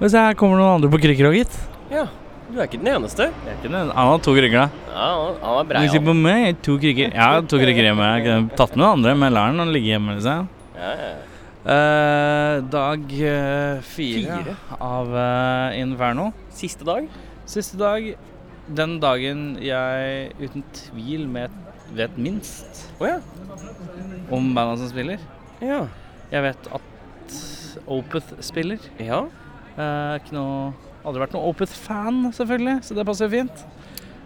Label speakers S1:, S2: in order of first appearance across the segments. S1: Mens her kommer noen andre på krikker og gitt.
S2: Ja, du er ikke den eneste.
S1: Jeg kunne- Han har to krikker, da.
S2: Ja, han- han er brei.
S1: Hvis ikke
S2: han.
S1: på meg, jeg har to krikker. Jeg har to krikker hjemme. Jeg kunne tatt med noen andre, men lar den ligge hjemme. liksom.
S2: Ja, ja.
S1: Eh, dag eh, fire,
S2: Fire?
S1: av eh, Inferno.
S2: Siste dag?
S1: Siste dag. Den dagen jeg uten tvil med, vet minst
S2: Å ja.
S1: om banda som spiller.
S2: ja.
S1: Jeg vet at Opeth spiller.
S2: Ja.
S1: Eh, ikke noe, aldri vært noe Opeth-fan, selvfølgelig, så det passer fint.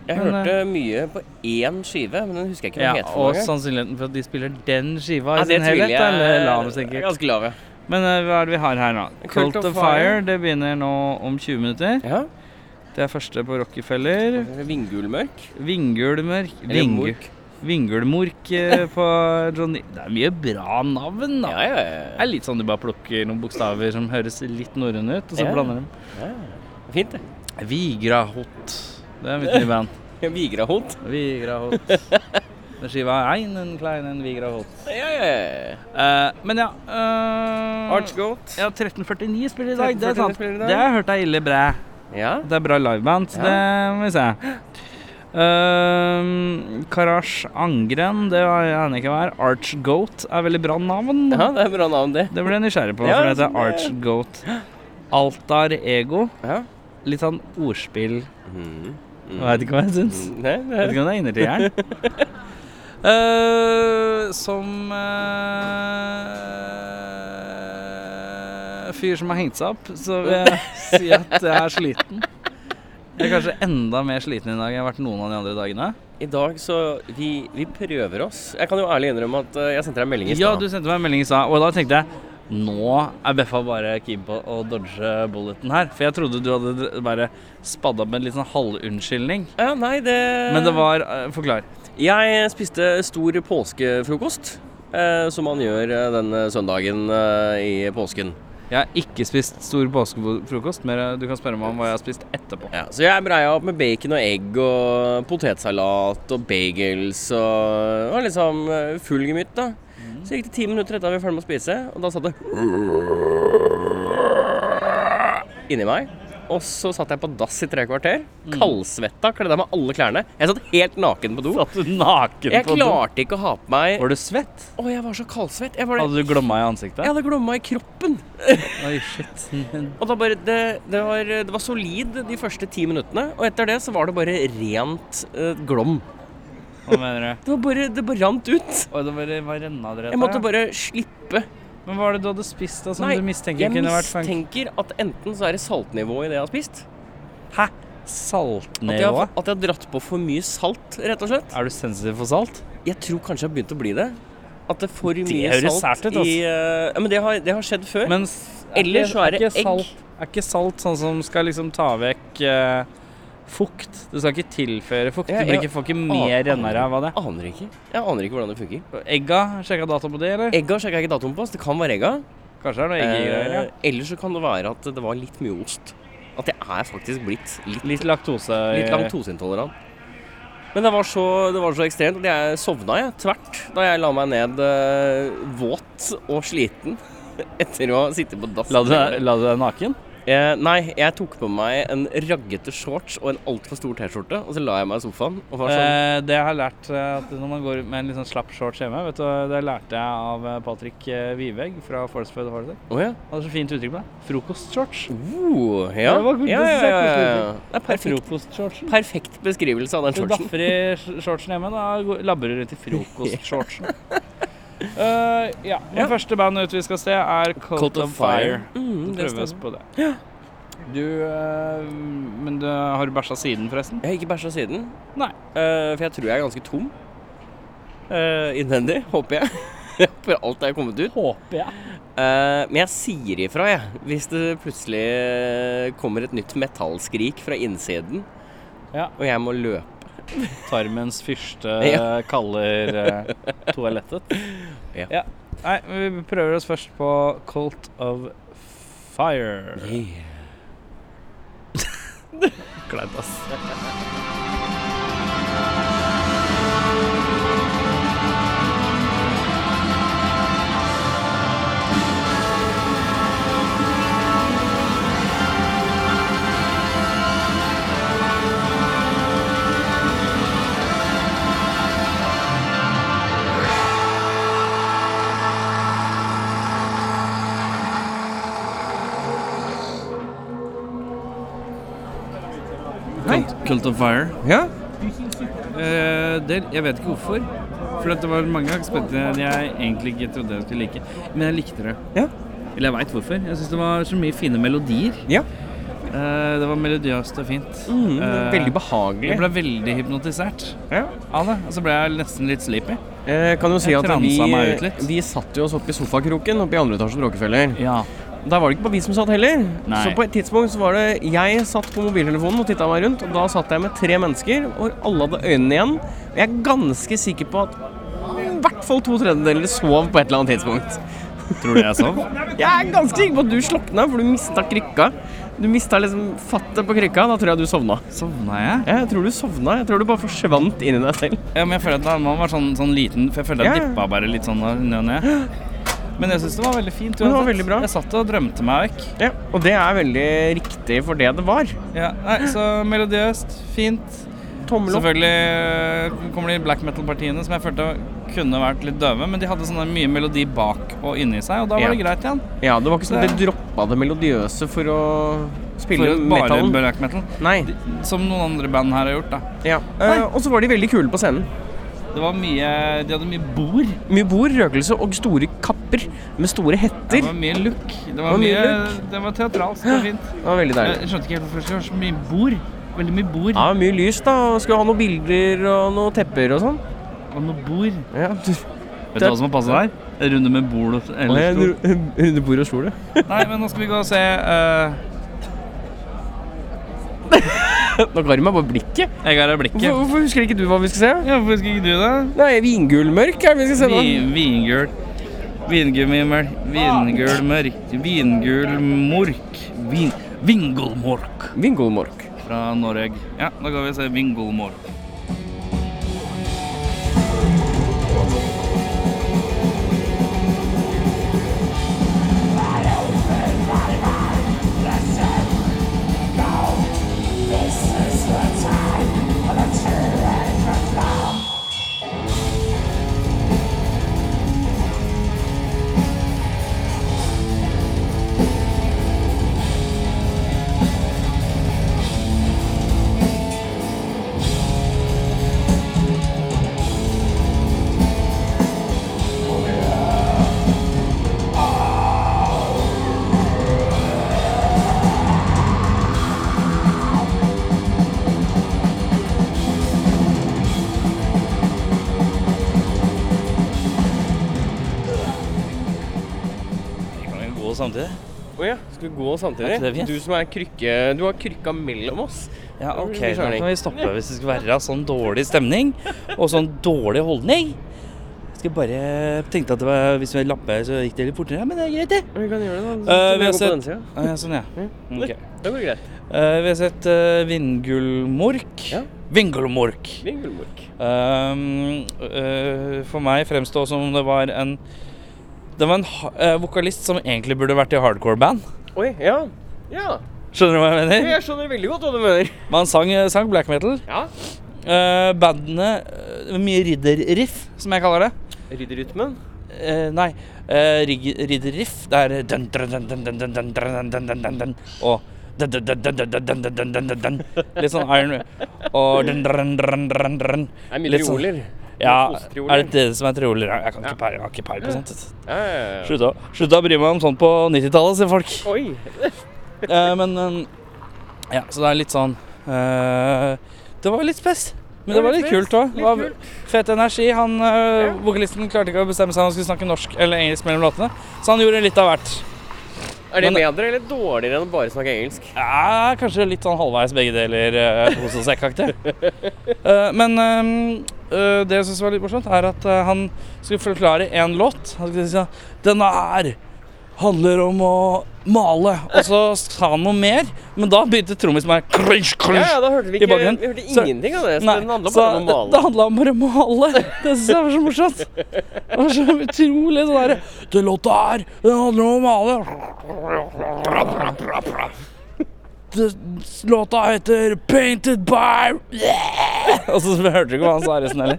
S2: Jeg
S1: Men, eh,
S2: hørte mye på én skive, men den husker jeg ikke hva
S1: Ja,
S2: den het. for
S1: og
S2: noe.
S1: sannsynligheten for at de spiller den skiva
S2: Ja,
S1: i sin helhet, er lav,
S2: jeg er
S1: sikkert.
S2: Ganske lav, ja.
S1: Men eh, hva er det vi har her, da?
S2: Cult
S1: Cult
S2: of
S1: of Fire. Det begynner nå om 20 minutter.
S2: ja.
S1: Det er første på Rockefeller.
S2: Vingulmørk.
S1: Vingulmørk
S2: Eller
S1: Vingu-
S2: Mork.
S1: Vingulmork eh, på Johnny Det er mye bra navn, da.
S2: Ja, ja,
S1: Det
S2: ja.
S1: er litt sånn du bare plukker noen bokstaver som høres litt norrøne ut, og så
S2: Ja.
S1: blander dem.
S2: ja. Fint, det.
S1: Vigrahot. Det er mitt nye band.
S2: Vigrahot.
S1: Vigrahot. Den skiva er einen kleinen Vigrahot.
S2: Ja, ja, ja.
S1: Eh, men ja eh,
S2: Archgoat.
S1: Ja, 1349 spiller i dag. Det er
S2: 1349
S1: sant.
S2: spiller i dag.
S1: Det har jeg hørt er ille bræ.
S2: Ja.
S1: Det er bra liveband, så
S2: Ja.
S1: det må vi se. Ehm, Karash Angren, det var jeg aner ikke hva er. Archgoat er veldig bra navn.
S2: ja, det er bra navn, det.
S1: Det ble jeg nysgjerrig på,
S2: Ja,
S1: for det
S2: det-
S1: heter Archgoat. Altar Ego.
S2: Ja.
S1: Litt sånn ordspill.
S2: Mm.
S1: Jeg vet ikke hva jeg syns.
S2: Mm, Nei,
S1: Jeg
S2: det
S1: vet
S2: er
S1: ikke om det er innertieren. Eh, som eh, fyr som har hengt seg opp, så vil jeg si at jeg er sliten. Jeg er kanskje enda mer sliten i dag enn jeg har vært noen av de andre dagene.
S2: I dag så vi, vi prøver oss. Jeg kan jo ærlig innrømme at eh, jeg sendte deg en melding i
S1: Ja,
S2: stad.
S1: du sendte meg en melding i stad, og da tenkte jeg nå er Beffa bare keen på å dodge bulleten her. For jeg trodde du hadde dr- bare spadd opp med en litt sånn halvunnskyldning.
S2: Ja, nei, det
S1: Men det var eh, Forklar.
S2: Jeg spiste stor påskefrokost, eh, som man gjør eh, den eh, søndagen eh, i påsken.
S1: Jeg har ikke spist stor påskefrokost, men eh, du kan spørre meg om hva jeg har spist etterpå.
S2: Ja, så jeg breia opp med bacon og egg og potetsalat og bagels og, og liksom eh, full gemytt, da.
S1: Mm.
S2: Så gikk det ti minutter etter at vi var ferdig med å spise, og da satt det inni meg. Og så satt jeg på dass i tre kvarter.
S1: Mm.
S2: Kaldsvetta, kledde av meg alle klærne. Jeg satt helt naken på do.
S1: Satt du naken
S2: Jeg
S1: på do?
S2: klarte ikke å ha på meg
S1: Var du svett?
S2: Å, jeg var så kaldsvett. Jeg, var
S1: Hadde du glomma i ansiktet?
S2: jeg hadde glomma i kroppen.
S1: Oi, shit.
S2: Og da bare, det, det, var, det var solid de første ti minuttene, og etter det så var det bare rent eh, glom.
S1: Hva mener du?
S2: Det var bare, det bare rant ut.
S1: Oi, det var, var renna dere
S2: Jeg måtte bare slippe.
S1: Men hva er det du hadde spist da, som
S2: Nei,
S1: du mistenker
S2: Jeg
S1: kunne vært funk?
S2: mistenker at enten så er det saltnivået i det jeg har spist,
S1: Hæ?
S2: at jeg, har,
S1: Saltnivået?
S2: at jeg har dratt på for mye salt, rett og slett.
S1: Er du sensitiv for salt?
S2: Jeg tror kanskje jeg har begynt å bli det. At det er for mye
S1: høres
S2: salt
S1: sært ut, altså.
S2: i eh, Ja, men det har, det har skjedd før.
S1: Men s-
S2: Eller
S1: ikke-
S2: så er det
S1: ikke
S2: egg.
S1: Salt, er ikke salt sånn som skal liksom ta vekk eh, fukt? Du skal ikke tilføre fukt.
S2: Ja,
S1: du blir
S2: ja.
S1: ikke, får ikke mer
S2: Ah,
S1: rennaræv av det.
S2: aner ikke. Jeg aner ikke hvordan det funker.
S1: Egga? Sjekka datoen på det, eller?
S2: Egga sjekka jeg ikke datoen på, så det kan være egga.
S1: Kanskje det er noe eggegreier, ja.
S2: Eh, eller så kan det være at det var litt mye ost. At jeg er faktisk blitt litt
S1: Litt laktose
S2: Litt laktoseintolerant. Men det var, så, det var så ekstremt at jeg sovna jeg tvert da jeg la meg ned eh, våt og sliten etter å ha sittet på dass.
S1: La du deg la du deg naken?
S2: Eh, nei, jeg tok på meg en raggete shorts og en altfor stor T-skjorte, og så la jeg meg i sofaen og var sånn
S1: Eh, det jeg har lært eh, at når man går ut med en litt sånn slapp shorts hjemme vet du, Det lærte jeg av eh, Patrick eh, Vivegg fra Forestføyd Horse.
S2: Å ja.
S1: Han hadde så fint uttrykk på det. Frokostshorts.
S2: Uh, ja.
S1: Det var god-
S2: ja, ja, ja, ja. Det er perfekt,
S1: Frokostshortsen.
S2: perfekt beskrivelse av den
S1: Du
S2: shortsen.
S1: daffer i sh- shortsen hjemme, da går- labber du rundt i frokostshortsen. Eh, ja. Men
S2: Ja.
S1: første band ut vi skal se, er Cult, of Fire.
S2: Mm, det
S1: Prøve oss
S2: stemmer.
S1: på det. Du eh, Men du har du bæsja siden, forresten?
S2: Jeg har ikke bæsja siden.
S1: Nei.
S2: Eh, for jeg tror jeg er ganske tom. Eh, innvendig, håper jeg. Jeg håper alt er kommet ut.
S1: Håper jeg.
S2: Eh, men jeg sier ifra, jeg, hvis det plutselig eh, kommer et nytt metallskrik fra innsiden,
S1: Ja.
S2: og jeg må løpe.
S1: Tarmens fyrste
S2: Ja.
S1: kaller eh, toalettet.
S2: Ja.
S1: Nei, men vi prøver oss først på Cult of Fire. Kleint, ass. Cult of Fire.
S3: Ja?
S1: Eh, del, jeg vet ikke hvorfor. For at det var mange akspenter jeg egentlig ikke trodde jeg skulle like. Men jeg likte det.
S3: Ja.
S1: Eller jeg veit hvorfor. Jeg syns det var så mye fine melodier.
S3: Ja.
S1: Eh, det var melodiøst og fint.
S3: Mm,
S1: Eh,
S3: veldig
S1: Jeg
S3: behagelig.
S1: ble veldig hypnotisert
S3: Ja.
S1: av det. Og så ble jeg nesten litt sleepy.
S3: Eh, kan jo si
S1: Jeg
S3: at vi,
S1: transa meg ut litt.
S3: vi satt jo oss oppe i sofakroken oppe i andre etasje på Rockefeller.
S1: Ja.
S3: Der var det ikke bare vi som satt heller.
S1: Nei.
S3: Så på et tidspunkt så var det jeg satt på mobiltelefonen og titta meg rundt, og da satt jeg med tre mennesker, og alle hadde øynene igjen. Og jeg er ganske sikker på at i hvert fall to tredjedeler sov på et eller annet tidspunkt.
S1: Tror du jeg sov?
S3: Jeg er ganske sikker på at du slokna, for du mista krykka. Du mista liksom fattet på krykka. Da tror jeg du sovna.
S1: Sovna jeg?
S3: Jeg tror du sovna. Jeg tror du bare forsvant inn i deg selv.
S1: Ja, men jeg føler at det må ha vært sånn, sånn liten, for jeg føler at jeg
S3: Ja.
S1: dippa bare litt sånn av ned og ned. Men jeg syns det var veldig fint.
S3: det var
S1: uansett.
S3: veldig bra.
S1: Jeg satt og drømte meg vekk.
S3: Ja, og det er veldig riktig for det det var.
S1: Ja, nei, Så melodiøst, fint.
S3: Tommel opp.
S1: Selvfølgelig eh, kommer de black metal-partiene som jeg følte kunne vært litt døve, men de hadde sånn mye melodi bak og inni seg, og da var det
S3: Ja.
S1: greit igjen.
S3: Ja, det var ikke sånn at de droppa det melodiøse for å spille
S1: For bare
S3: metallen.
S1: black metal.
S3: Nei.
S1: Som noen andre band her har gjort, da.
S3: Ja.
S1: Nei.
S3: Eh, og så var de veldig kule på scenen.
S1: Det var mye De hadde mye bord.
S3: Mye bord, røkelse og store kapper med store
S1: Det
S3: hetter.
S1: var mye look. Det
S3: var
S1: var,
S3: mye
S1: mye, det var teatralsk. Det var fint.
S3: Det var veldig deilig.
S1: Jeg skjønte ikke helt hvorfor det var så mye bord. Veldig mye bord.
S3: Ja, mye lys, da. og Skulle ha noen bilder og noen tepper og sånn.
S1: Og noe bord.
S3: Ja, du...
S1: Vet du hva som har passa der? En runde med bord og eh.
S3: Nei,
S1: eller stol.
S3: en Runde bord og stol, ja.
S1: Nei, men nå skal vi gå og se eh,
S3: Nå ga de meg bare blikket.
S1: Jeg har blikket.
S3: Hvorfor, hvorfor husker ikke du hva vi skal se?
S1: Ja, Hvorfor skal ikke du det?
S3: Nei, Vingullmørk er det vi skal se nå.
S1: Vi- Vingul. Vingummimel. Vingul mørk. Vingul mork. Vin, vingulmork
S3: Vingullmørk.
S1: fra Norge. Ja, da går vi og ser vingulmork. Vi kan jo gå samtidig.
S3: Å ja, skal vi gå
S1: Er
S3: samtidig?
S1: ikke det fint?
S3: Du som er krykke... Du har krykka mellom oss.
S1: Ja,
S3: Da blir
S1: ok,
S3: det
S1: da
S3: skjøring.
S1: kan vi stoppe hvis det skal være sånn dårlig stemning og sånn dårlig holdning. Jeg skal bare tenkte at det var, hvis vi lapper, så gikk det litt fortere, men det er greit, det.
S3: Vi kan gjøre det, da.
S1: Eh, vi har
S3: Gå på
S1: sett-
S3: den siden.
S1: Ah, ja, sånn, ja.
S3: Mm.
S1: Ok.
S3: Det går greit.
S1: Eh, vi har sett uh, Vingulmork.
S3: Ja.
S1: Vingulmork.
S3: Vingullmørk.
S1: Ehm, øh, for meg fremstå som det var en Det var en ha- eh, vokalist som egentlig burde vært i hardcore-band.
S3: Oi, ja. Ja.
S1: Skjønner du hva jeg mener?
S3: Jeg skjønner veldig godt hva du mener.
S1: Man sang, sang black metal.
S3: Ja.
S1: Eh, bandene eh, det var Mye ridderriff, som jeg kaller det.
S3: Ridderrytmen.
S1: Eh, nei, eh, rig- ridderriff. Det er eh, dun, dun, dun, dun, dun, dun, dun, dun, dun, dun, dun, dun, Og dun, dun, dun, dun, dun, dun, dun, dun, dun, dun, dun. Litt sånn Iron Og dun, dun, dun, dun, dun.
S3: Det er mye
S1: Litt sånn-
S3: trioler.
S1: Ja,
S3: Postroler.
S1: er det det som er trioler? Jeg kan ikke peile- jeg har ikke peil på sånt. altså.
S3: Ja, ja, ja.
S1: Slutt å, slutt å bry meg om sånt på 90-tallet, sier folk.
S3: Oi.
S1: Eh, men eh, Ja, så det er litt sånn eh, Det var litt spes. Men det var litt kult òg. Fet energi. Han, eh,
S3: Ja.
S1: Vokalisten klarte ikke å bestemme seg om han skulle snakke norsk eller engelsk mellom låtene, så han gjorde litt av hvert.
S3: Er det
S1: Men-
S3: bedre eller dårligere enn å bare snakke engelsk?
S1: Ja, kanskje litt sånn halvveis begge deler eh, hos oss sekk-aktig. Eh, men eh, eh, det jeg syns var litt morsomt, er at eh, han skulle forklare én låt. Han skulle si sånn Denne her handler om å male. Og så sa han noe mer, men da begynte trommisen med krysj,
S3: Ja,
S1: krysj.
S3: ja, da hørte vi
S1: I
S3: ikke
S1: bakgrunnen.
S3: Vi hørte
S1: Så-
S3: ingenting av det. Så
S1: Nei,
S3: den handla
S1: så
S3: bare om å
S1: det, det
S3: male.
S1: handla om bare å male. Det syns jeg var så morsomt. Det var så utrolig sånn derre Det låta her, den handler om å male. Det, låta heter 'Painted by' Og så hørte du ikke hva han sa resten heller.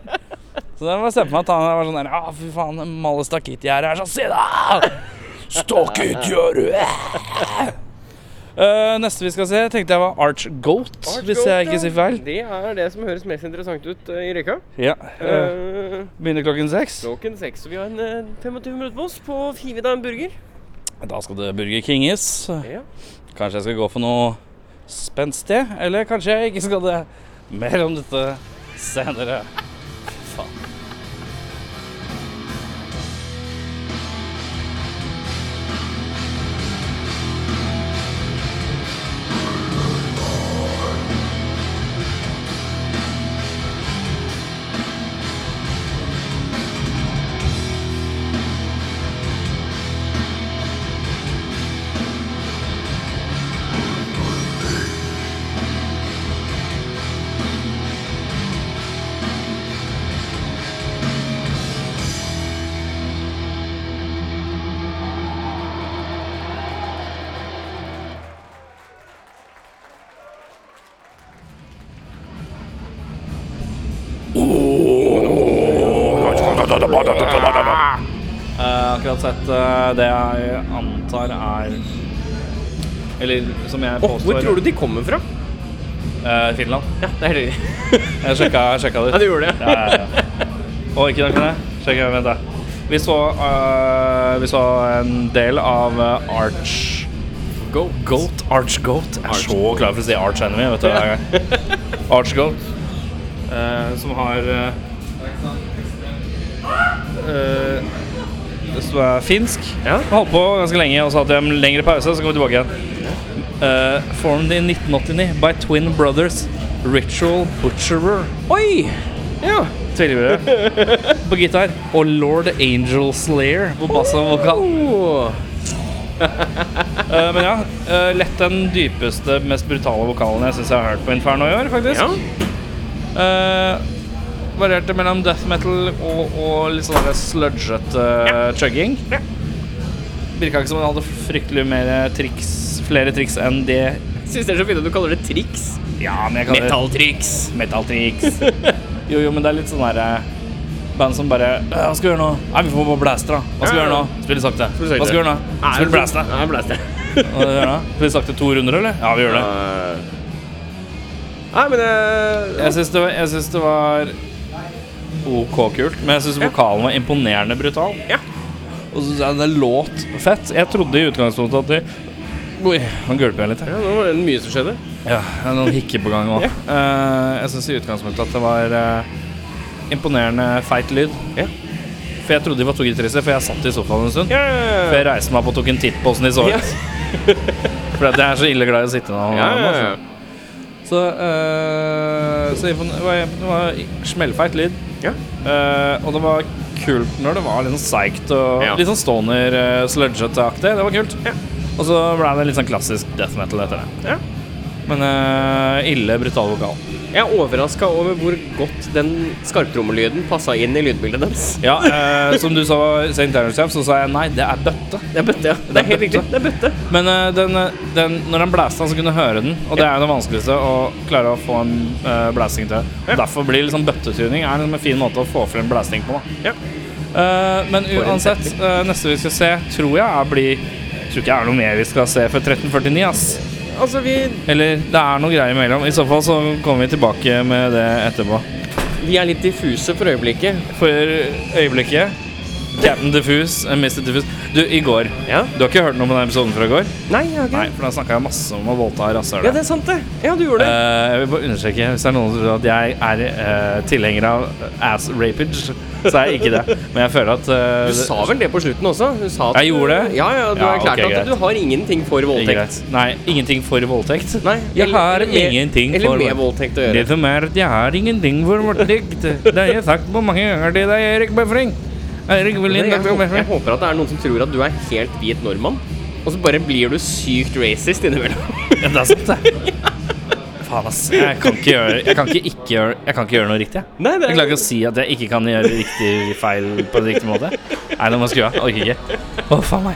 S1: Så det var se på meg at han var sånn der Ja, fy faen, male stakittgjerdet er sånn Se da! Stakittgjerde! Eh, neste vi skal se, tenkte jeg var Arch Goat, hvis jeg ikke sier feil.
S2: Det er det som høres mest interessant ut eh, i rekka.
S1: Ja. eh,
S2: Eh,
S1: begynner klokken seks.
S2: Klokken seks. Vi har en eh, 25 minutter på oss på å five deg en burger.
S1: Da skal det Burger Kinges.
S2: Ja.
S1: Kanskje jeg skal gå for noe spenstig, eller kanskje jeg ikke skal det. Mer om dette senere. Eh, akkurat sett eh, det jeg antar er Eller som jeg
S2: Og hvor
S1: påstår
S2: tror du de kommer fra?
S1: eh, Finland.
S2: Ja, det er det.
S1: Jeg sjekka, jeg sjekka det.
S2: Ja, du gjorde det.
S1: Ja, ja, ja. Og ikke nok med det. Sjekk her, vent da. Vi så, eh, vi så en del av eh, Arch
S2: Go.
S1: Goat. Arch Goat. Jeg er så klar for å si Arch Enemy. Vet du, hver gang. Arch Goat. eh, som har eh, eh, Som er finsk.
S2: Ja.
S1: Holdt på ganske lenge, og så hadde de en lengre pause, så kom vi tilbake igjen. Eh, formed in 1989 by twin brothers Ritual Butcherer.
S2: Oi! Ja.
S1: Tvillingbrødre på gitar. Og Lord Angel Slayer på bass og vokal.
S2: Oh.
S1: Eh, men ja, eh, lett den dypeste, mest brutale vokalen jeg syns jeg har hørt på Inferno i år, faktisk.
S2: Ja.
S1: Eh, varierte mellom death metal og, og litt sånn der sludgete eh, chugging.
S2: Ja.
S1: Virka ikke som han hadde fryktelig mer triks, flere triks enn det
S2: Syns det er så fint at du kaller det triks.
S1: Ja, men jeg kaller det
S2: Metalltriks.
S1: Metalltriks. jo, jo, men det er litt sånn der eh, Band som bare «Øh, Hva skal vi gjøre nå? Nei, vi får bare blæste, da. Hva skal vi
S2: Ja,
S1: gjøre
S2: ja.
S1: nå? Spille sakte. Hva
S2: Spille sakte.
S1: skal vi gjøre nå? Spille blæste.
S2: Nei, blæste.
S1: Hva skal vi gjøre nå? Spille sakte to runder, eller? Ja, vi gjør det.
S2: Nei, men eh,
S1: Jeg syns det, var- jeg syns det var OK kult, men jeg syns vokalen var imponerende brutal.
S2: Ja.
S1: Og så syns jeg det låt fett. Jeg trodde i utgangspunktet at de Oi, nå gulper jeg litt her.
S2: ja, Nå var det mye som skjedde.
S1: Ja, det er noen hikker på gang òg. jeg syns i utgangspunktet at det var eh, imponerende feit lyd.
S2: Ja.
S1: For jeg trodde de var to gitarister, for jeg satt i sofaen en stund.
S2: Ja.
S1: For jeg reiste meg opp og tok en titt på åssen de så ut.
S2: Ja.
S1: For at jeg er så ille glad i å sitte nå.
S2: Ja, ja, ja.
S1: altså. Så, eh, så impon- det var, det var smellfeit lyd.
S2: Ja.
S1: Eh, og det var kult når det var litt sånn seigt og
S2: Ja.
S1: litt sånn stoner, uh, sludgete-aktig. Det var kult.
S2: Ja.
S1: Og så ble det litt sånn klassisk death metal etter det.
S2: Ja.
S1: Men eh, ille brutal vokal.
S2: Jeg er overraska over hvor godt den skarptrommelyden passa inn i lydbildet deres.
S1: Ja, eh, som du sa, St. Terence Camp, så sa jeg nei, det er bøtte.
S2: Det er bøtte, ja. Det er helt riktig. Det er bøtte.
S1: Men eh, den, den, når den blæsta, så kunne du høre den. Og det er jo det vanskeligste, å klare å få en eh, blæsting til. Derfor blir liksom bøttetuning er liksom en fin måte å få frem blæsting på. Da.
S2: Ja.
S1: Eh, men uansett, eh, neste vi skal se, tror jeg er blir Tror ikke det er noe mer vi skal se før 1349, ass.
S2: Altså, vi,
S1: Eller det er noe greier imellom. I så fall så kommer vi tilbake med det etterpå.
S2: vi er litt diffuse for øyeblikket.
S1: For øyeblikket Captain Diffuse, eh, Mr. Diffuse Du, i går
S2: Ja?
S1: Du har ikke hørt noe om den episoden fra i går?
S2: Nei, jeg har ikke
S1: Nei, for da snakka jeg masse om å voldta rasshøl.
S2: Ja, det er sant, det. Ja, du gjorde det.
S1: Eh, jeg vil bare understreke, hvis det er noen som tror at jeg er eh, tilhenger av ass rapage, så er jeg ikke det. Men jeg føler at eh,
S2: Du sa vel det på slutten også? Du sa at
S1: Jeg gjorde det.
S2: Ja, ja, du
S1: Ja,
S2: har erklært
S1: ok, greit.
S2: at du har ingenting for
S1: Ikke
S2: voldtekt.
S1: greit. Nei, ingenting for voldtekt.
S2: Nei,
S1: jeg
S2: eller-
S1: har
S2: eller med-
S1: ingenting
S2: eller
S1: for
S2: med voldtekt å
S1: Det
S2: gjøre.
S1: som er at jeg har ingenting for voldtekt. Det har jeg sagt på mange ganger til deg, Erik Befring. Erik
S2: Men
S1: William
S2: Jeg,
S1: Befring.
S2: håper- jeg håper at det er noen som tror at du er helt hvit nordmann, og så bare blir du sykt racist innimellom.
S1: Ja, det er sant, det. Faen, ass. Jeg kan ikke gjøre, jeg kan ikke ikke gjøre, jeg kan ikke gjøre noe riktig. jeg.
S2: Nei, det
S1: Jeg
S2: er-
S1: klarer ikke å si at jeg ikke kan gjøre riktig feil på riktig måte. Nei, nå må jeg skru av. Jeg Orker ikke. Å, faen meg.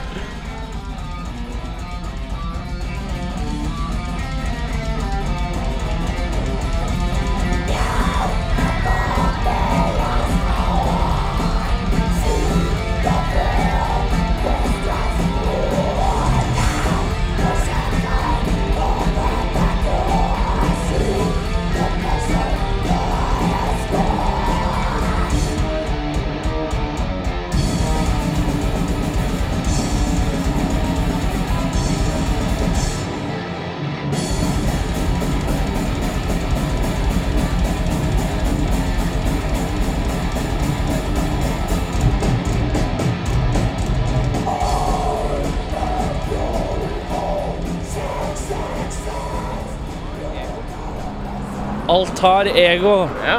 S1: altar ego.
S3: Ja.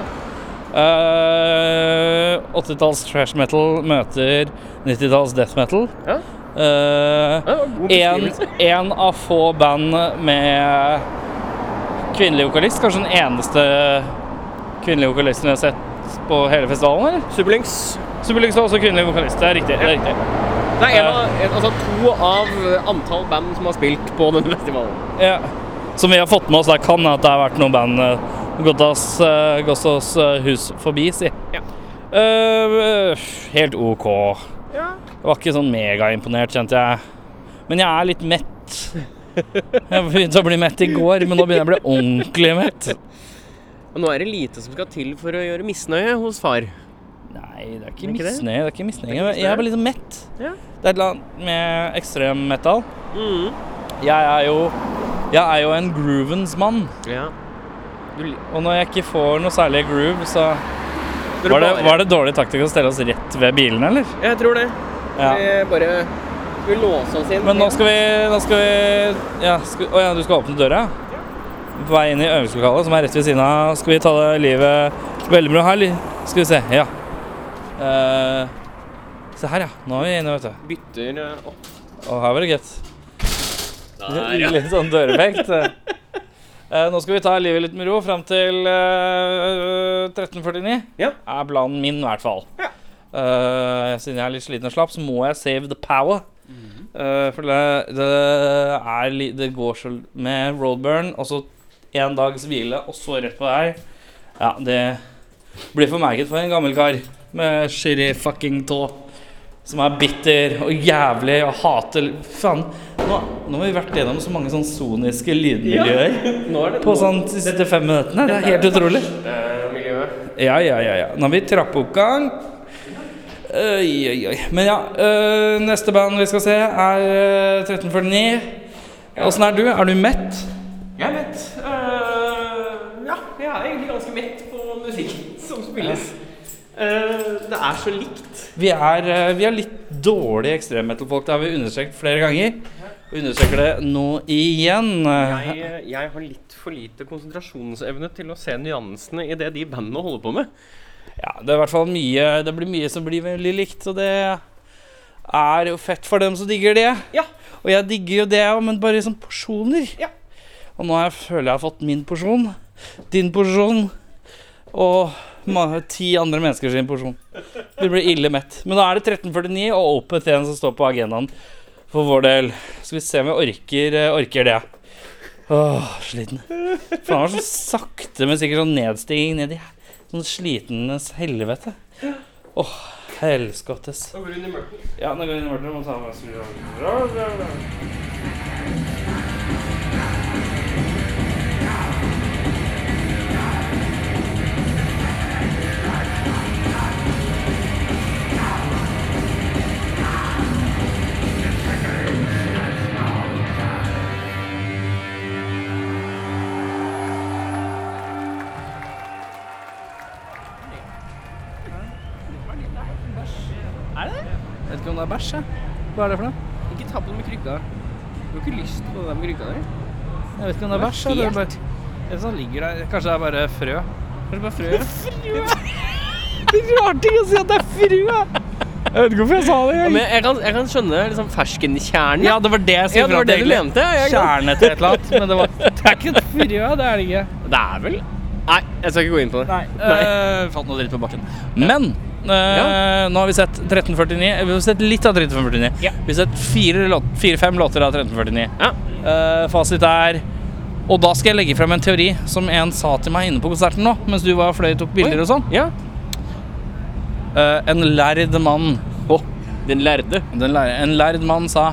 S1: Eh, 80-talls trash metal møter 90-talls death metal.
S3: Ja.
S1: Eh,
S3: Ja, god
S1: en,
S3: beskrivelse.
S1: en av få band med kvinnelig vokalist. Kanskje den eneste kvinnelige vokalisten jeg har sett på hele festivalen? eller?
S3: Sublinks.
S1: Superlix var også kvinnelig vokalist. Det er riktig. det er riktig.
S3: Det er en av, en, altså to av antall band som har spilt på denne festivalen.
S1: Ja. Som vi har fått med oss, der kan at det har vært noen band eh, gått oss, eh, gått oss eh, hus forbi, si.
S3: Ja.
S1: Eh, pff, helt OK.
S3: Ja.
S1: Jeg var ikke sånn megaimponert, kjente jeg. Men jeg er litt mett. Jeg begynte å bli mett i går, men nå begynner jeg å bli ordentlig mett.
S3: Og nå er det lite som skal til for å gjøre misnøye hos far.
S1: Nei, det er ikke
S3: Er det ikke det?
S1: misnøye. Det er ikke misnøye.
S3: Det er ikke
S1: men Jeg er bare litt sånn mett.
S3: Ja.
S1: Det er et eller annet med ekstrem metal.
S3: Mm.
S1: Jeg er jo, jeg er jo en groovens mann.
S3: Ja. Du, li-
S1: Og når jeg ikke får noe særlig groove, så
S3: Dere
S1: Var det,
S3: bare-
S1: var det dårlig taktikk å stelle oss rett ved bilene, eller?
S3: Jeg tror det.
S1: Ja.
S3: Vi bare vi låser oss inn.
S1: Men nå skal vi Nå skal vi ja, skal, Å ja, du skal åpne døra? På vei inn i øvingslokalet, som er rett ved siden av. Skal vi ta det livet veldig bra her? eller? Skal vi se. Ja. Eh, se her, ja. Nå er vi inne, vet du.
S3: bytter eh, opp.
S1: Og her var det gøtt.
S3: Der, ja.
S1: Litt sånn døreffekt. Eh, nå skal vi ta livet litt med ro fram til eh, 1349.
S3: Ja.
S1: Er planen min, i hvert fall.
S3: Ja.
S1: Eh, siden jeg er litt sliten og slapp, så må jeg save the power. Eh, for det, det er li- Det går så Med roadburn og så én dags hvile, og så rett på deg Ja, det blir for merket for en gammel kar med shitty fucking tå. Som er bitter og jævlig og hater Faen, nå, nå har vi vært gjennom så mange sånn soniske lydmiljøer
S3: Nå er det
S1: på sånn de siste fem minuttene. Det er helt utrolig.
S3: eh, miljøet.
S1: Ja, ja, ja. ja. Nå har vi trappeoppgang. Oi, oi, oi. Men ja, øh, neste band vi skal se, er øh, 1349. Åssen er du? Er du mett?
S3: Jeg er mett. Eh, ja, jeg er egentlig ganske mett på musikken som spilles. Eh, det er så likt.
S1: Vi er, øh, vi er litt dårlige ekstremmetal-folk. Det har vi understreket flere ganger. Og understreker det nå igjen.
S3: Jeg, eh, jeg har litt for lite konsentrasjonsevne til å se nyansene i det de bandene holder på med.
S1: Ja, det er i hvert fall mye Det blir mye som blir veldig likt, og det er jo fett for dem som digger det.
S3: Ja.
S1: Og jeg digger jo det òg, men bare som porsjoner.
S3: Ja.
S1: Og nå har jeg, føler jeg har fått min porsjon, din porsjon og ma- ti andre mennesker sin porsjon. Vi blir ille mett. Men da er det 1349 og Opeth igjen som står på agendaen for vår del. Skal vi se om vi orker, eh, orker det. Åh, sliten. Faen, det var så sakte, men sikkert sånn nedstigning ned i Sånn slitenes helvete. Åh, helskottes.
S3: Da går du inn i mørket.
S1: Ja, nå går vi inn i mørket og må ta med oss Jeg vet ikke om det er bæsj, jeg. Hva er det for noe?
S3: Ikke ta på den med krykka. Du har ikke lyst på det der med krykka di?
S1: Jeg vet ikke om det er bæsj. eller bare... Eller sånn ligger der. Kanskje det er bare frø. Kanskje bare frø. Det klarte ikke å si at det er frø! Jeg vet ikke hvorfor jeg sa det.
S3: Ja, men jeg kan, jeg kan skjønne liksom ferskenkjernen.
S1: Ja, det var det jeg
S3: Ja,
S1: skulle
S3: det var
S1: fram
S3: det du
S1: til. egentlig.
S3: mente. ja, jeg kan-
S1: Kjerne til et eller annet. Men det, var, det er ikke et frø, det er det ikke.
S3: Det er vel Nei, jeg skal ikke gå inn på det.
S1: Nei. Eh, falt noe dritt på bakken. Men eh, nå har vi sett 1349. Vi har sett litt av 1349.
S3: Ja.
S1: Vi har sett fire-fem låt, fire, låter av 1349.
S3: Ja.
S1: Eh, fasit er Og da skal jeg legge frem en teori som en sa til meg inne på konserten nå, mens du var og fløy og tok bilder og sånn.
S3: ja.
S1: Eh, en lærd mann
S3: Å, den lærde.
S1: den lærer, En lærd mann sa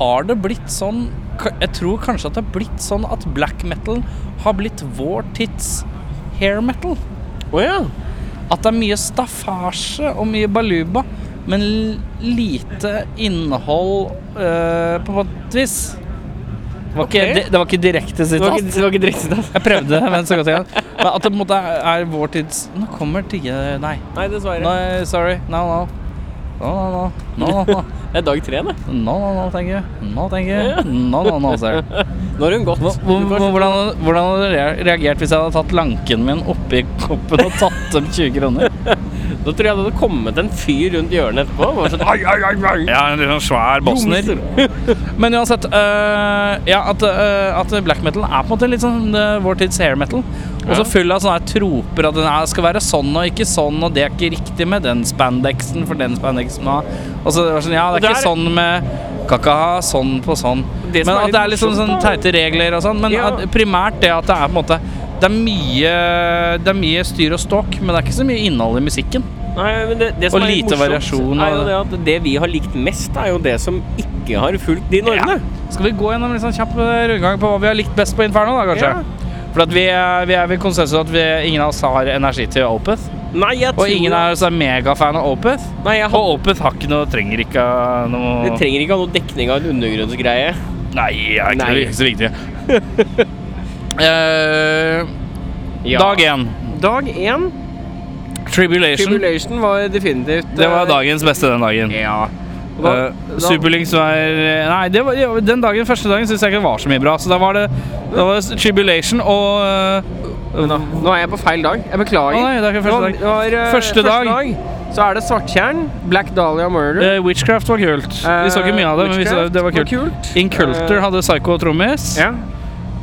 S1: Har det blitt sånn ka- Jeg tror kanskje at det har blitt sånn at black metal har blitt vår tids hair metal.
S3: Å ja.
S1: At det er mye staffasje og mye baluba, men l- lite innhold eh, på et vis. Det var, ikke,
S3: Ok.
S1: det, det var ikke direkte
S3: Det var
S1: sitat.
S3: ikke, det var ikke direkte sitat.
S1: Jeg prøvde, men så godt jeg kan. Men at det på en måte er er vår tids Nå kommer digge Nei.
S3: Nei, dessverre.
S1: Nei, sorry. No, no. No, no, no. no, no, no.
S2: Det er dag tre, det.
S1: No, no, no, thank you. No, thank you. No, no, no, sir.
S2: Nå har hun gått.
S1: Hva- hvor- hvor- Hvordan, hvordan hadde du rea- reagert hvis jeg hadde tatt lanken min oppi koppen og tatt dem 20 kroner?
S2: Da tror jeg det hadde kommet en fyr rundt hjørnet etterpå. Bare sånn, ai, ai, ai, ai.
S1: Ja, en sånn svær
S2: Jo, mister.
S1: Men uansett, øh, ja, at, øh, at black metal er på en måte litt sånn øh, vår tids hair metal. Og så full av sånne her troper at den er, skal være sånn og ikke sånn, og det er ikke riktig med den spandexen for den spandexen. Og, og så det var sånn, ja, det er
S2: Og det
S1: ikke
S2: er-
S1: sånn med Kan ikke ha sånn på sånn.
S2: Det som
S1: men
S2: er
S1: at
S2: litt
S1: det er litt sånn, sånn
S2: morsomt, da.
S1: teite regler og sånn. Men
S2: Ja.
S1: at, primært det at det er på en måte det er, mye, det er mye styr og ståk, men det er ikke så mye innhold i musikken.
S2: Nei, men det, det som
S1: Og
S2: er litt
S1: lite
S2: morsomt,
S1: variasjon
S2: Er jo
S1: av
S2: det, at det vi har likt mest, er jo det som ikke har fulgt de normene.
S1: Skal vi gå gjennom en sånn kjapp eh, rundgang på hva vi har likt best på Inferno, da, kanskje? For at vi, er- vi er ved konsensus at vi, ingen av oss har energi til Opeth.
S2: Nei, jeg tror
S1: Og ingen av oss er megafan av Opeth.
S2: Nei, jeg har...
S1: Og Opeth har ikke noe Trenger ikke ha
S2: Vi
S1: noe
S2: trenger ikke ha noe dekning av en undergrunnsgreie.
S1: Nei, det er ikke,
S2: Nei.
S1: ikke så viktig. Eh,
S2: Ja.
S1: Dag én.
S2: Dag én.
S1: Tribulation.
S2: Tribulation var definitivt
S1: Det var
S2: eh,
S1: dagens beste den dagen.
S2: Ja. Og Da,
S1: Uh,
S2: da,
S1: Superlynx var eh, Nei, det var, ja, den dagen, første dagen syns jeg ikke det var så mye bra. Så da var det, da var det Tribulation og eh,
S2: Men da, nå er jeg på feil dag. Jeg beklager.
S1: Å nei, det er ikke første dag.
S2: Det var, det var, eh,
S1: Første dag.
S2: Så er det Svarttjern, Black Dahlia Murder.
S1: Eh, Witchcraft var kult. Vi så ikke mye av det, men vi så,
S2: Eh, Witchcraft
S1: det var kult. Inculter
S2: Eh,
S1: hadde Psycho og trommis.
S2: Ja.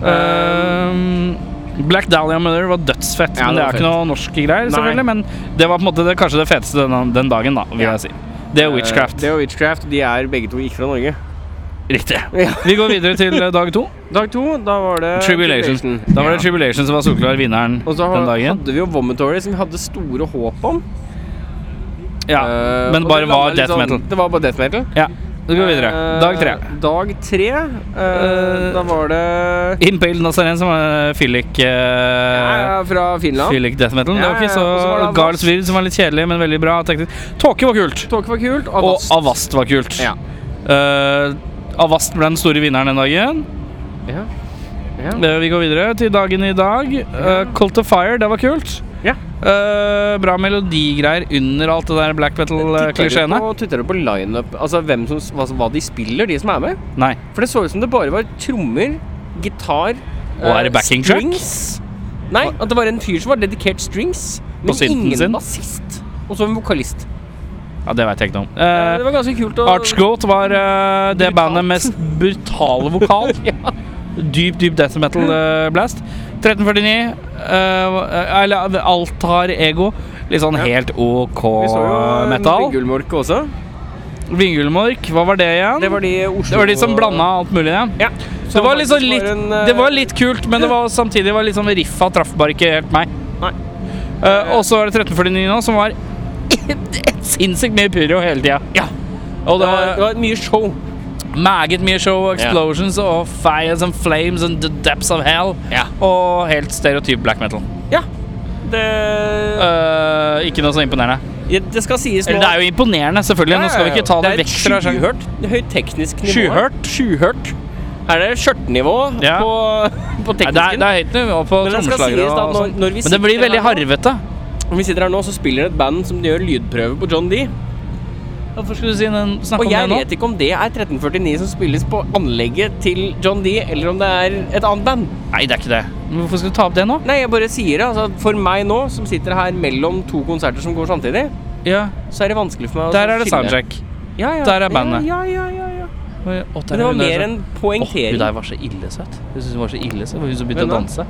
S1: Ehm, Black Dahlia Murder var dødsfett,
S2: Ja,
S1: men
S2: det
S1: det er
S2: var
S1: ikke
S2: fett.
S1: noe norske greier.
S2: Nei.
S1: selvfølgelig Men det var på en måte det, kanskje det feteste den, den dagen, da, vil
S2: Ja.
S1: jeg si. Det og Witchcraft.
S2: Eh, Det og Witchcraft. De er begge to ikke fra Norge.
S1: Riktig.
S2: Ja.
S1: Vi går videre til eh, dag to.
S2: Dag to, da var det
S1: Tribulation. Da var det
S2: Ja.
S1: Tribulation som var soleklar vinneren
S2: Og så
S1: den dagen.
S2: hadde vi jo Vomitory, som vi hadde store håp om.
S1: Ja,
S2: Eh,
S1: men
S2: og
S1: bare
S2: det
S1: var
S2: landet litt
S1: death
S2: sånn-
S1: metal.
S2: Det var bare death metal.
S1: Ja, Vi går videre.
S2: Eh,
S1: Dag tre.
S2: Dag tre. eh,
S1: Eh,
S2: da var det
S1: Impale Nazaren, som var fyllik uh,
S2: eh, Ja, eh, fra Finland.
S1: Fyllik death metal. Det
S2: Ja,
S1: var ikke
S2: ja, og så var
S1: så
S2: det Avast.
S1: Garls Weird, som var litt kjedelig, men veldig bra. teknisk. Tåke var kult.
S2: Tåke var kult.
S1: Og
S2: Avast.
S1: Avast var kult.
S2: Ja.
S1: Eh, Avast ble den store vinneren den dagen.
S2: Ja. Ja.
S1: Eh, vi går videre til dagen i dag. Eh, Cult of Fire, det var kult.
S2: Ja.
S1: Eh, bra melodigreier under alt det der black eh,
S2: Titter du
S1: metal-klisjeene.
S2: på, titter du på lineup, altså hvem som, hva, hva de spiller, de som er med?
S1: Nei.
S2: For det så ut som det bare var trommer, gitar
S1: Og er det backing track?
S2: track? Nei, at det var en fyr som var dedikert strings, men
S1: synten
S2: ingen
S1: sin?
S2: bassist. Og så en vokalist.
S1: Ja, det veit jeg ikke noe om.
S2: Eh,
S1: Eh,
S2: det var ganske kult å
S1: Archgoat var eh, det
S2: Brutalt.
S1: bandet mest brutale vokal. Dyp, dyp death metal eh, blast. 1349. eh, eller Alt har ego. Litt sånn
S2: Ja.
S1: helt OK
S2: Vi så jo eh, en
S1: metal.
S2: Gullmolke også.
S1: Vingulmork, hva var det igjen?
S2: Det var de i Oslo
S1: Det var de som blanda alt mulig, ja.
S2: Ja.
S1: Det var, liksom
S2: faktisk
S1: litt,
S2: en, eh,
S1: det var litt kult, men det var samtidig var litt sånn riffa traff bare ikke helt meg.
S2: Nei.
S1: Eh, og så var det 1349 nå, som var sinnssykt mye pyro hele tida.
S2: Ja.
S1: Og
S2: Det
S1: det
S2: var, eh, det
S1: var
S2: var mye show.
S1: meget mye show og explosions og fires and flames and the depths of hell.
S2: Ja.
S1: Og helt stereotyp black metal.
S2: Ja. Det,
S1: Eh, ikke noe så imponerende.
S2: ja, det skal sies nå
S1: Eller det er jo imponerende, selvfølgelig. Nå skal vi ikke ta det, vekk fra
S2: Det er et skyhørt, høyteknisk nivå.
S1: Skyhørt?
S2: Skyhørt. Her er det skjørtnivå
S1: Ja.
S2: på, på
S1: Nei, det, er,
S2: teknisken.
S1: det er høyt nivå på
S2: Men det skal
S1: trommeslagere
S2: sies da,
S1: og
S2: når-
S1: sånn.
S2: når vi
S1: Men det blir
S2: sitter
S1: veldig
S2: her
S1: harvete.
S2: Når vi sitter her nå, så spiller det et band som gjør lydprøve på John D.
S1: Hvorfor skulle du si den, snakke
S2: Og
S1: om det
S2: jeg
S1: nå?
S2: vet ikke om det er 1349 som spilles på anlegget til John D, eller om det er et annet band.
S1: Nei, det er ikke det. Men hvorfor skal du ta opp det nå?
S2: Nei, jeg bare sier det. Altså, for meg nå, som sitter her mellom to konserter som går samtidig,
S1: Ja,
S2: så er det vanskelig for meg å
S1: Der er det
S2: skille.
S1: soundcheck.
S2: Ja, ja.
S1: Der er bandet.
S2: Ja, ja, ja, ja, ja.
S1: Oi, å, der er
S2: Men det var
S1: hun der
S2: mer
S1: som-
S2: en
S1: Åh, hun
S2: poengtering.
S1: der var så illesøt. Jeg synes hun var så illesøt. Hun som begynte å
S2: Hvem da?
S1: danse.
S2: ja,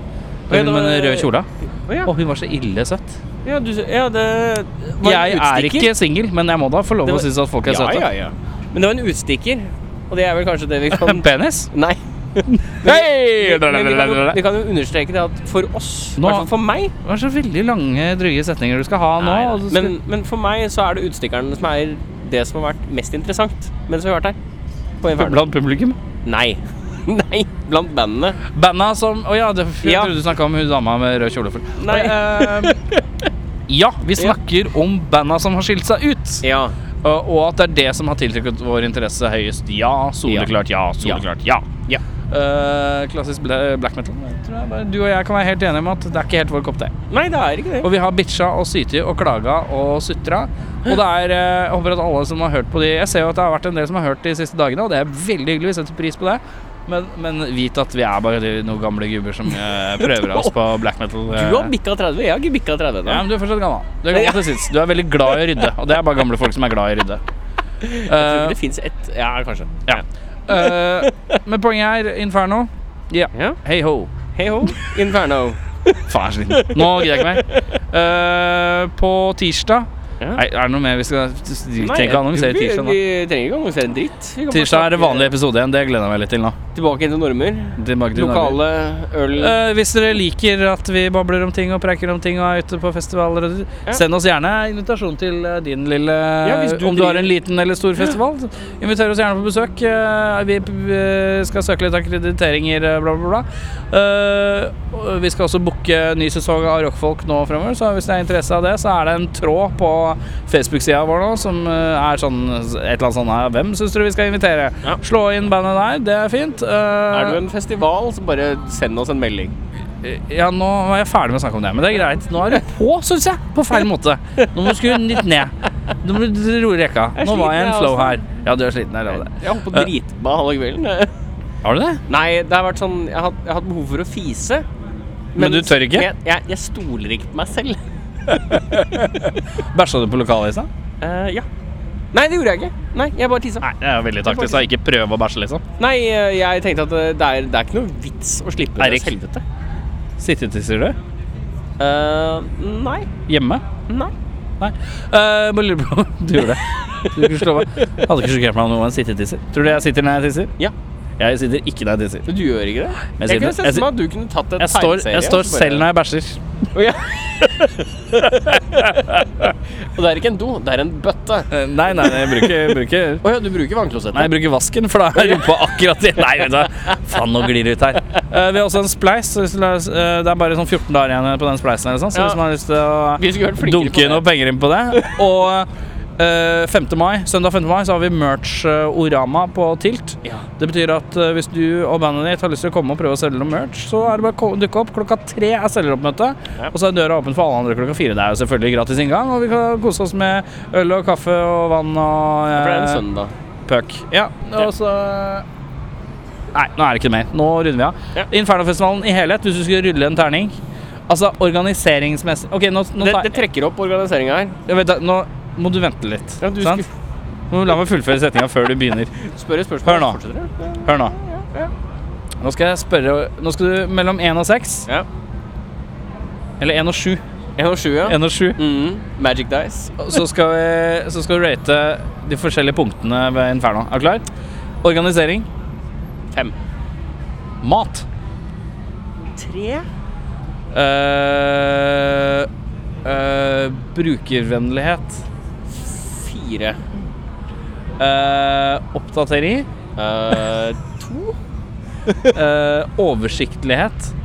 S1: Hun
S2: det
S1: med
S2: var-
S1: den røde kjola.
S2: Å, ja.
S1: Å, hun var så illesøt.
S2: Ja, du, ja, det var
S1: Jeg
S2: en
S1: er
S2: utstikker.
S1: ikke singel, men jeg må da få lov
S2: Det
S1: å
S2: var-
S1: synes at folk er søte.
S2: Men det var en utstikker, og det er vel kanskje det vi kan
S1: Penis?
S2: Nei.
S1: Hei!
S2: Men vi, kan jo, vi kan jo understreke det at for oss, i
S1: Nå-
S2: hvert fall for meg
S1: Det var så veldig lange, drøye setninger du skal ha nå. og du skal-
S2: men, men for meg så er det utstikkeren som er det som har vært mest interessant mens vi har vært her. På Inferno.
S1: Blant publikum?
S2: Nei. Nei, blant bandene.
S1: Banda som Å ja, det, jeg
S2: Ja.
S1: trodde du snakka om hun dama med rød kjole. for-
S2: Nei,
S1: Ja, vi snakker om banda som har skilt seg ut.
S2: Ja.
S4: Eh,
S1: Og og at det er det som har tiltrykket vår interesse høyest. Ja, soleklart ja, soleklart ja.
S2: Ja.
S1: Eh,
S4: eh, klassisk bla- black metal. Jeg tror jeg bare- Du og jeg kan være helt enige om at det er ikke helt vår kopp te.
S2: Nei, det er ikke det.
S4: Og vi har bitcha og syti og klaga og sutra. Og det er, eh, jeg håper at alle som har hørt på de Jeg ser jo at det har vært en del som har hørt de siste dagene, og det er veldig hyggelig. Vi setter pris på det. Men, men vit at vi er bare de- noen gamle gubber som eh, prøver oss på black metal. eh.
S2: Du har bikka 30, jeg har ikke bikka 30
S4: Ja,
S2: ennå.
S4: men du er fortsatt gammel. Du er, gammel til sinns. du er veldig glad i å rydde, og det er bare gamle folk som er glad i å rydde. Eh,
S2: Det fins ett Ja, kanskje.
S4: ja. Eh, men poenget er Inferno. Ja.
S2: Ja.
S4: Hei ho.
S2: Hei ho, Inferno.
S4: Faen, jeg er sliten. Nå gidder jeg ikke mer. Eh, på tirsdag
S2: Ja.
S4: Nei, er det noe mer vi skal Vi trenger ikke annonsere
S2: vi,
S4: tirsdag nå.
S2: vi trenger ikke annonsere en dritt. Vi kan bare
S4: Tirsdag er det
S2: snakke
S4: vanlig episode igjen. Det gleder jeg meg litt til nå.
S2: Tilbake til normer.
S4: Tilbake til Norge.
S2: Lokale øl.
S4: Eh, hvis dere liker at vi babler om ting og preker om ting og er ute på festivaler, og-
S2: Ja.
S4: send oss gjerne invitasjon til eh, din lille
S2: hvis du
S4: Om du har
S2: driver-
S4: en liten eller stor festival, så inviter oss gjerne på besøk. Eh, vi eh, skal søke litt akkrediteringer, eh, bla, bla, bla. Eh, og vi skal også booke ny sesong av Rockfolk nå fremover, så hvis det er interesse av det, så er det en tråd på Facebook-sida vår nå som eh, er sånn et eller annet sånn her Hvem syns dere vi skal invitere?
S2: Ja.
S4: Slå inn bandet der, det er fint. Eh,
S2: er du en festival, så bare send oss en melding.
S4: Ja, nå var jeg ferdig med å snakke om det, men det er greit. Nå er du på, syns jeg. På feil måte. Nå må du skru den litt ned. Nå må du roe rekka.
S2: Jeg er
S4: Nå var jeg i
S2: sliten,
S4: en
S2: jeg
S4: flow
S2: også.
S4: her. Ja, du er sliten. Jeg lover det.
S2: Jeg holdt på å drite meg halve kvelden.
S4: Har du det?
S2: Nei, det har vært sånn Jeg har hatt- jeg har hatt behov for å fise.
S4: Men du tør ikke?
S2: Jeg, jeg, jeg stoler ikke på meg selv.
S4: Bæsja du på lokalet i stad?
S2: Eh, ja. Nei, det gjorde jeg ikke. Nei, jeg bare tissa.
S4: Nei, det er jo veldig taktisk. da. Ikke prøve å bæsje, liksom.
S2: Nei, eh, jeg tenkte at eh, det er, det er ikke noe vits å slippe
S4: Eirik.
S2: deres helvete.
S4: Sittetisser du?
S2: Eh, nei.
S4: Hjemme?
S2: Nei.
S4: Nei. Eh, bare lurer på om du gjorde det. Du kunne slå meg. Hadde ikke sjokkert meg om noe en sittetisser. Tror du jeg sitter når jeg tisser?
S2: Ja.
S4: Jeg sitter ikke når jeg tisser.
S2: Men du gjør ikke det? Jeg,
S4: sier
S2: kunne
S4: det.
S2: sett
S4: Jeg
S2: for meg at du kunne tatt en
S4: Jeg står, jeg står selv når jeg bæsjer.
S2: Og, og det er ikke en do, det er en bøtte.
S4: Eh, Nei, nei, nei, jeg bruker, bruker
S2: Å ja, du bruker vannklosettet.
S4: Nei, jeg bruker vasken, for da er rumpa akkurat i Nei, vet du hva. Faen, nå glir det ut her. Eh, vi har også en spleis. så hvis du la- eh, det er bare sånn 14 dager igjen på den spleisen. Eller sånn, så
S2: Ja.
S4: hvis man har lyst til å
S2: Vi skulle vært flinkere på
S4: dunke
S2: det.
S4: noe penger inn på det. Og eh, 5. mai, søndag 5. mai så har vi merch-orama på Tilt.
S2: Ja.
S4: Det betyr at eh, hvis du og bandet ditt har lyst til å komme og prøve å selge noe merch, så er det bare å ko- dukke opp. Klokka tre er selgeroppmøte,
S2: Ja.
S4: og så er døra åpen for alle andre klokka fire. Det er jo selvfølgelig gratis inngang, og vi kan kose oss med øl og kaffe og vann og
S2: For det er en
S4: eh,
S2: søndag.
S4: Puck. Ja,
S2: Ja.
S4: og så Nei, nå er det ikke mer. Nå runder vi av.
S2: Ja.
S4: Infernofestivalen i helhet, hvis du skulle rulle en terning Altså organiseringsmessig Ok, nå, nå,
S2: Det,
S4: tar,
S2: det trekker opp organiseringa her.
S4: jeg vet, da, nå må du vente litt.
S2: Ja, du
S4: sant?
S2: skulle-
S4: Nå må du La meg fullføre setninga før du begynner.
S2: Spør et spørsmål.
S4: Hør nå.
S2: Fortsetter du?
S4: Hør nå. Nå skal jeg spørre Nå skal du mellom én og seks.
S2: Ja.
S4: Eller én og sju.
S2: En og sju, ja.
S4: En og sju.
S2: Mhm. Magic Dice.
S4: Så skal, vi, så skal du rate de forskjellige punktene ved Inferno. Er du klar? Organisering.
S2: Fem.
S4: Mat.
S2: Tre.
S4: Eh, eh, brukervennlighet.
S2: Fire.
S4: Eh, oppdatering.
S2: Eh, to.
S4: Eh, oversiktlighet.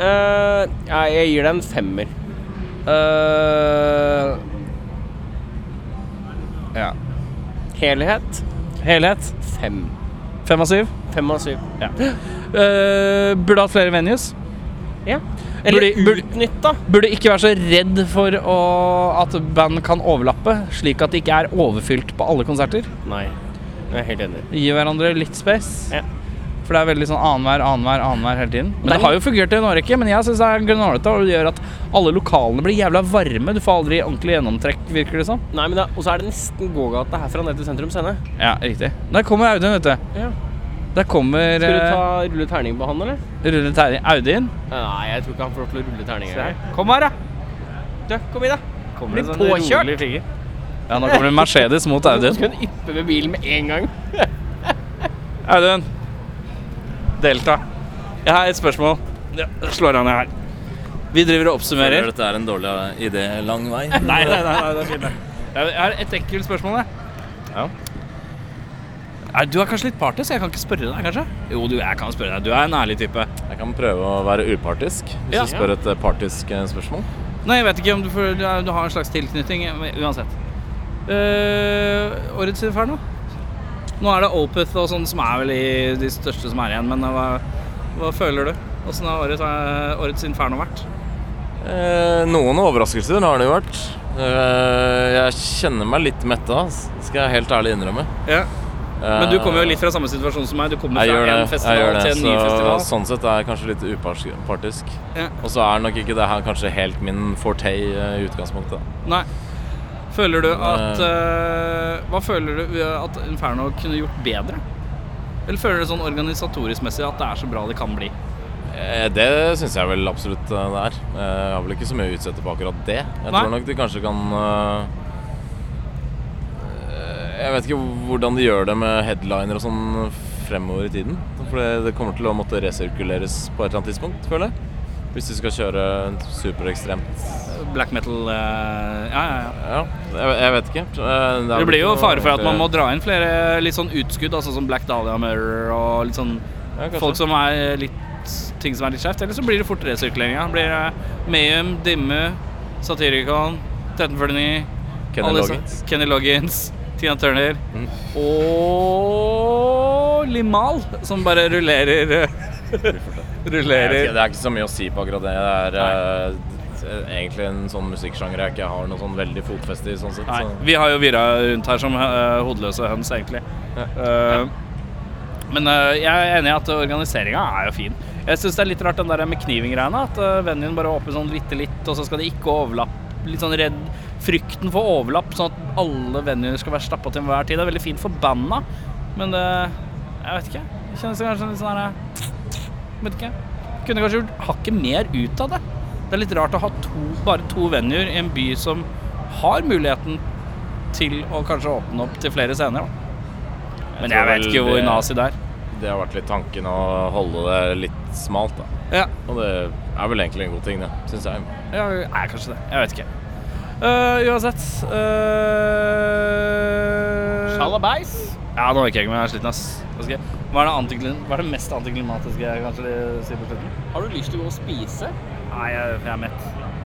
S2: Eh, ja, jeg gir deg en femmer.
S4: Eh, ja.
S2: Helhet
S4: Helhet.
S2: fem.
S4: Fem av syv.
S2: Fem av syv.
S4: Ja. Eh, burde hatt flere venues.
S2: Ja. Eller
S4: Burde- burde-
S2: utnytta.
S4: Burde ikke være så redd for å, at band kan overlappe, slik at det ikke er overfylt på alle konserter.
S2: Nei. Jeg er helt enig.
S4: Gi hverandre litt space.
S2: Ja.
S4: For det er veldig sånn annenhver, annenhver, annenhver hele tiden. Men
S2: Det er
S4: det har jo fungert i en årrekke. Men jeg syns det er gnålete, og det gjør at alle lokalene blir jævla varme. Du får aldri ordentlig gjennomtrekk, virker det som.
S2: Nei, men det, Og så er det nesten gågata herfra ned til sentrum scene.
S4: Ja, riktig. Der kommer Audun, vet du.
S2: Ja.
S4: Der kommer
S2: Skal du ta
S4: eh,
S2: rulle terning på han, eller?
S4: Rune Terje Audun.
S2: Nei, jeg tror ikke han får lov til å rulle terninger. her.
S4: Kom her, da.
S2: Du, kom hit, da.
S4: Kommer
S2: Blir påkjørt.
S4: Ja, nå kommer det Mercedes mot
S2: Du
S4: Audun.
S2: skal hun yppe med bilen med en gang.
S4: Audun. Delta. Jeg har et spørsmål. Ja, slår han i her. Vi driver og
S5: Føler
S4: oppsummerer.
S5: at dette er en dårlig idé lang vei.
S4: Nei, nei, nei, nei, det er fint. det. Jeg har et ekkelt spørsmål, jeg.
S5: Ja.
S4: Nei, du er kanskje litt party, så jeg kan ikke spørre deg, kanskje? Jo, du, jeg kan spørre deg. Du er en ærlig type.
S5: Jeg kan prøve å være upartisk hvis
S4: Ja.
S5: du spør et eh, partisk eh, spørsmål.
S4: Nei, jeg vet ikke om du, får, du, er- du har en slags tilknytning, men uansett. Uh, årets Inferno? Nå er det Opeth og sånn som er vel i de største som er igjen, men hva- Hva føler du? Åssen har årets, eh, årets inferno vært?
S5: Eh, noen overraskelser har det jo vært. Eh, jeg kjenner meg litt metta, ass. skal jeg helt ærlig innrømme.
S4: Ja.
S5: Eh,
S4: Men du kommer jo litt fra samme situasjon som meg. Du kommer
S5: jeg gjør
S4: fra en
S5: det. Jeg
S4: festival
S5: gjør det.
S4: til en ny
S5: Så,
S4: festival.
S5: sånn sett er jeg kanskje litt upartisk.
S4: Ja.
S5: Og så er nok ikke det her kanskje helt min forte eh, i utgangspunktet.
S4: Nei. Føler du at eh, Hva føler du at Inferno kunne gjort bedre? Eller føler du sånn organisatorisk messig at det er så bra det kan bli?
S5: Eh, Det syns jeg vel absolutt eh, det er. Eh, Jeg har vel ikke så mye å utsette på akkurat det. Jeg
S4: Nei.
S5: tror nok de kanskje kan eh, Jeg vet ikke hvordan de gjør det med headliner og sånn fremover i tiden. For det, det kommer til å måtte resirkuleres på et eller annet tidspunkt, føler jeg. Hvis de skal kjøre en superekstremt
S4: Black metal eh, Ja, ja, ja.
S5: Ja, jeg, jeg vet ikke. Eh, er
S4: Det
S5: vel
S4: blir jo
S5: ikke noe
S4: fare for at man må dra
S5: ordentlig-
S4: inn flere litt sånn utskudd, altså som Black Dahlia Murder og litt sånn
S5: Ja, kanskje.
S4: folk som er litt ting som er litt skjevt. Eller så blir det fort resirkulering. ja. Det Blir eh, Mayhem, Dimme, Satyricon, 1349
S5: Kenny
S4: alle disse-
S5: Loggins. Mm.
S4: Kenny Loggins, Tina Turner og Limal, som bare rullerer
S5: Jeg vet
S4: Rullerer.
S5: ikke, Det er ikke så mye å si på akkurat det. Det er eh, egentlig en sånn musikksjanger jeg ikke har noe sånn veldig fotfeste i. sånn sett.
S4: Nei,
S5: Så.
S4: vi har jo virra rundt her som eh, hodeløse høns, egentlig. Eh, men eh, jeg er enig i at organiseringa er jo fin. Jeg syns det er litt rart den der med kniving-greiene. At uh, venuen bare åpner sånn bitte litt, og så skal det ikke overlappe. Litt sånn redd frykten for overlapp, sånn at alle venuer skal være stappa til enhver tid. Det er veldig fint for banda, men det Jeg vet ikke. Det kjennes kanskje litt sånn her eh, Vet ikke. Kunne kanskje gjort hakket mer ut av det. Det er litt rart å ha to, bare to venuer i en by som har muligheten til å kanskje åpne opp til flere scener. Da. Men jeg
S5: tror
S4: vet
S5: vel
S4: ikke hvor
S5: det-
S4: nazi det er.
S5: Det har vært litt tanken å holde det litt smalt, da.
S4: Ja,
S5: Og det er vel egentlig en god ting, det, syns jeg.
S4: ja er kanskje det. Jeg vet ikke. Eh, uansett eh,
S6: Sjalabais!
S4: Ja, nå orker jeg ikke mer. Jeg er sliten, ass. Hva, skal jeg? Hva, er det antiklim- Hva er det mest antiklimatiske jeg kanskje sier på slutten?
S6: Har du lyst til å gå og spise?
S4: Nei, jeg, jeg er mett.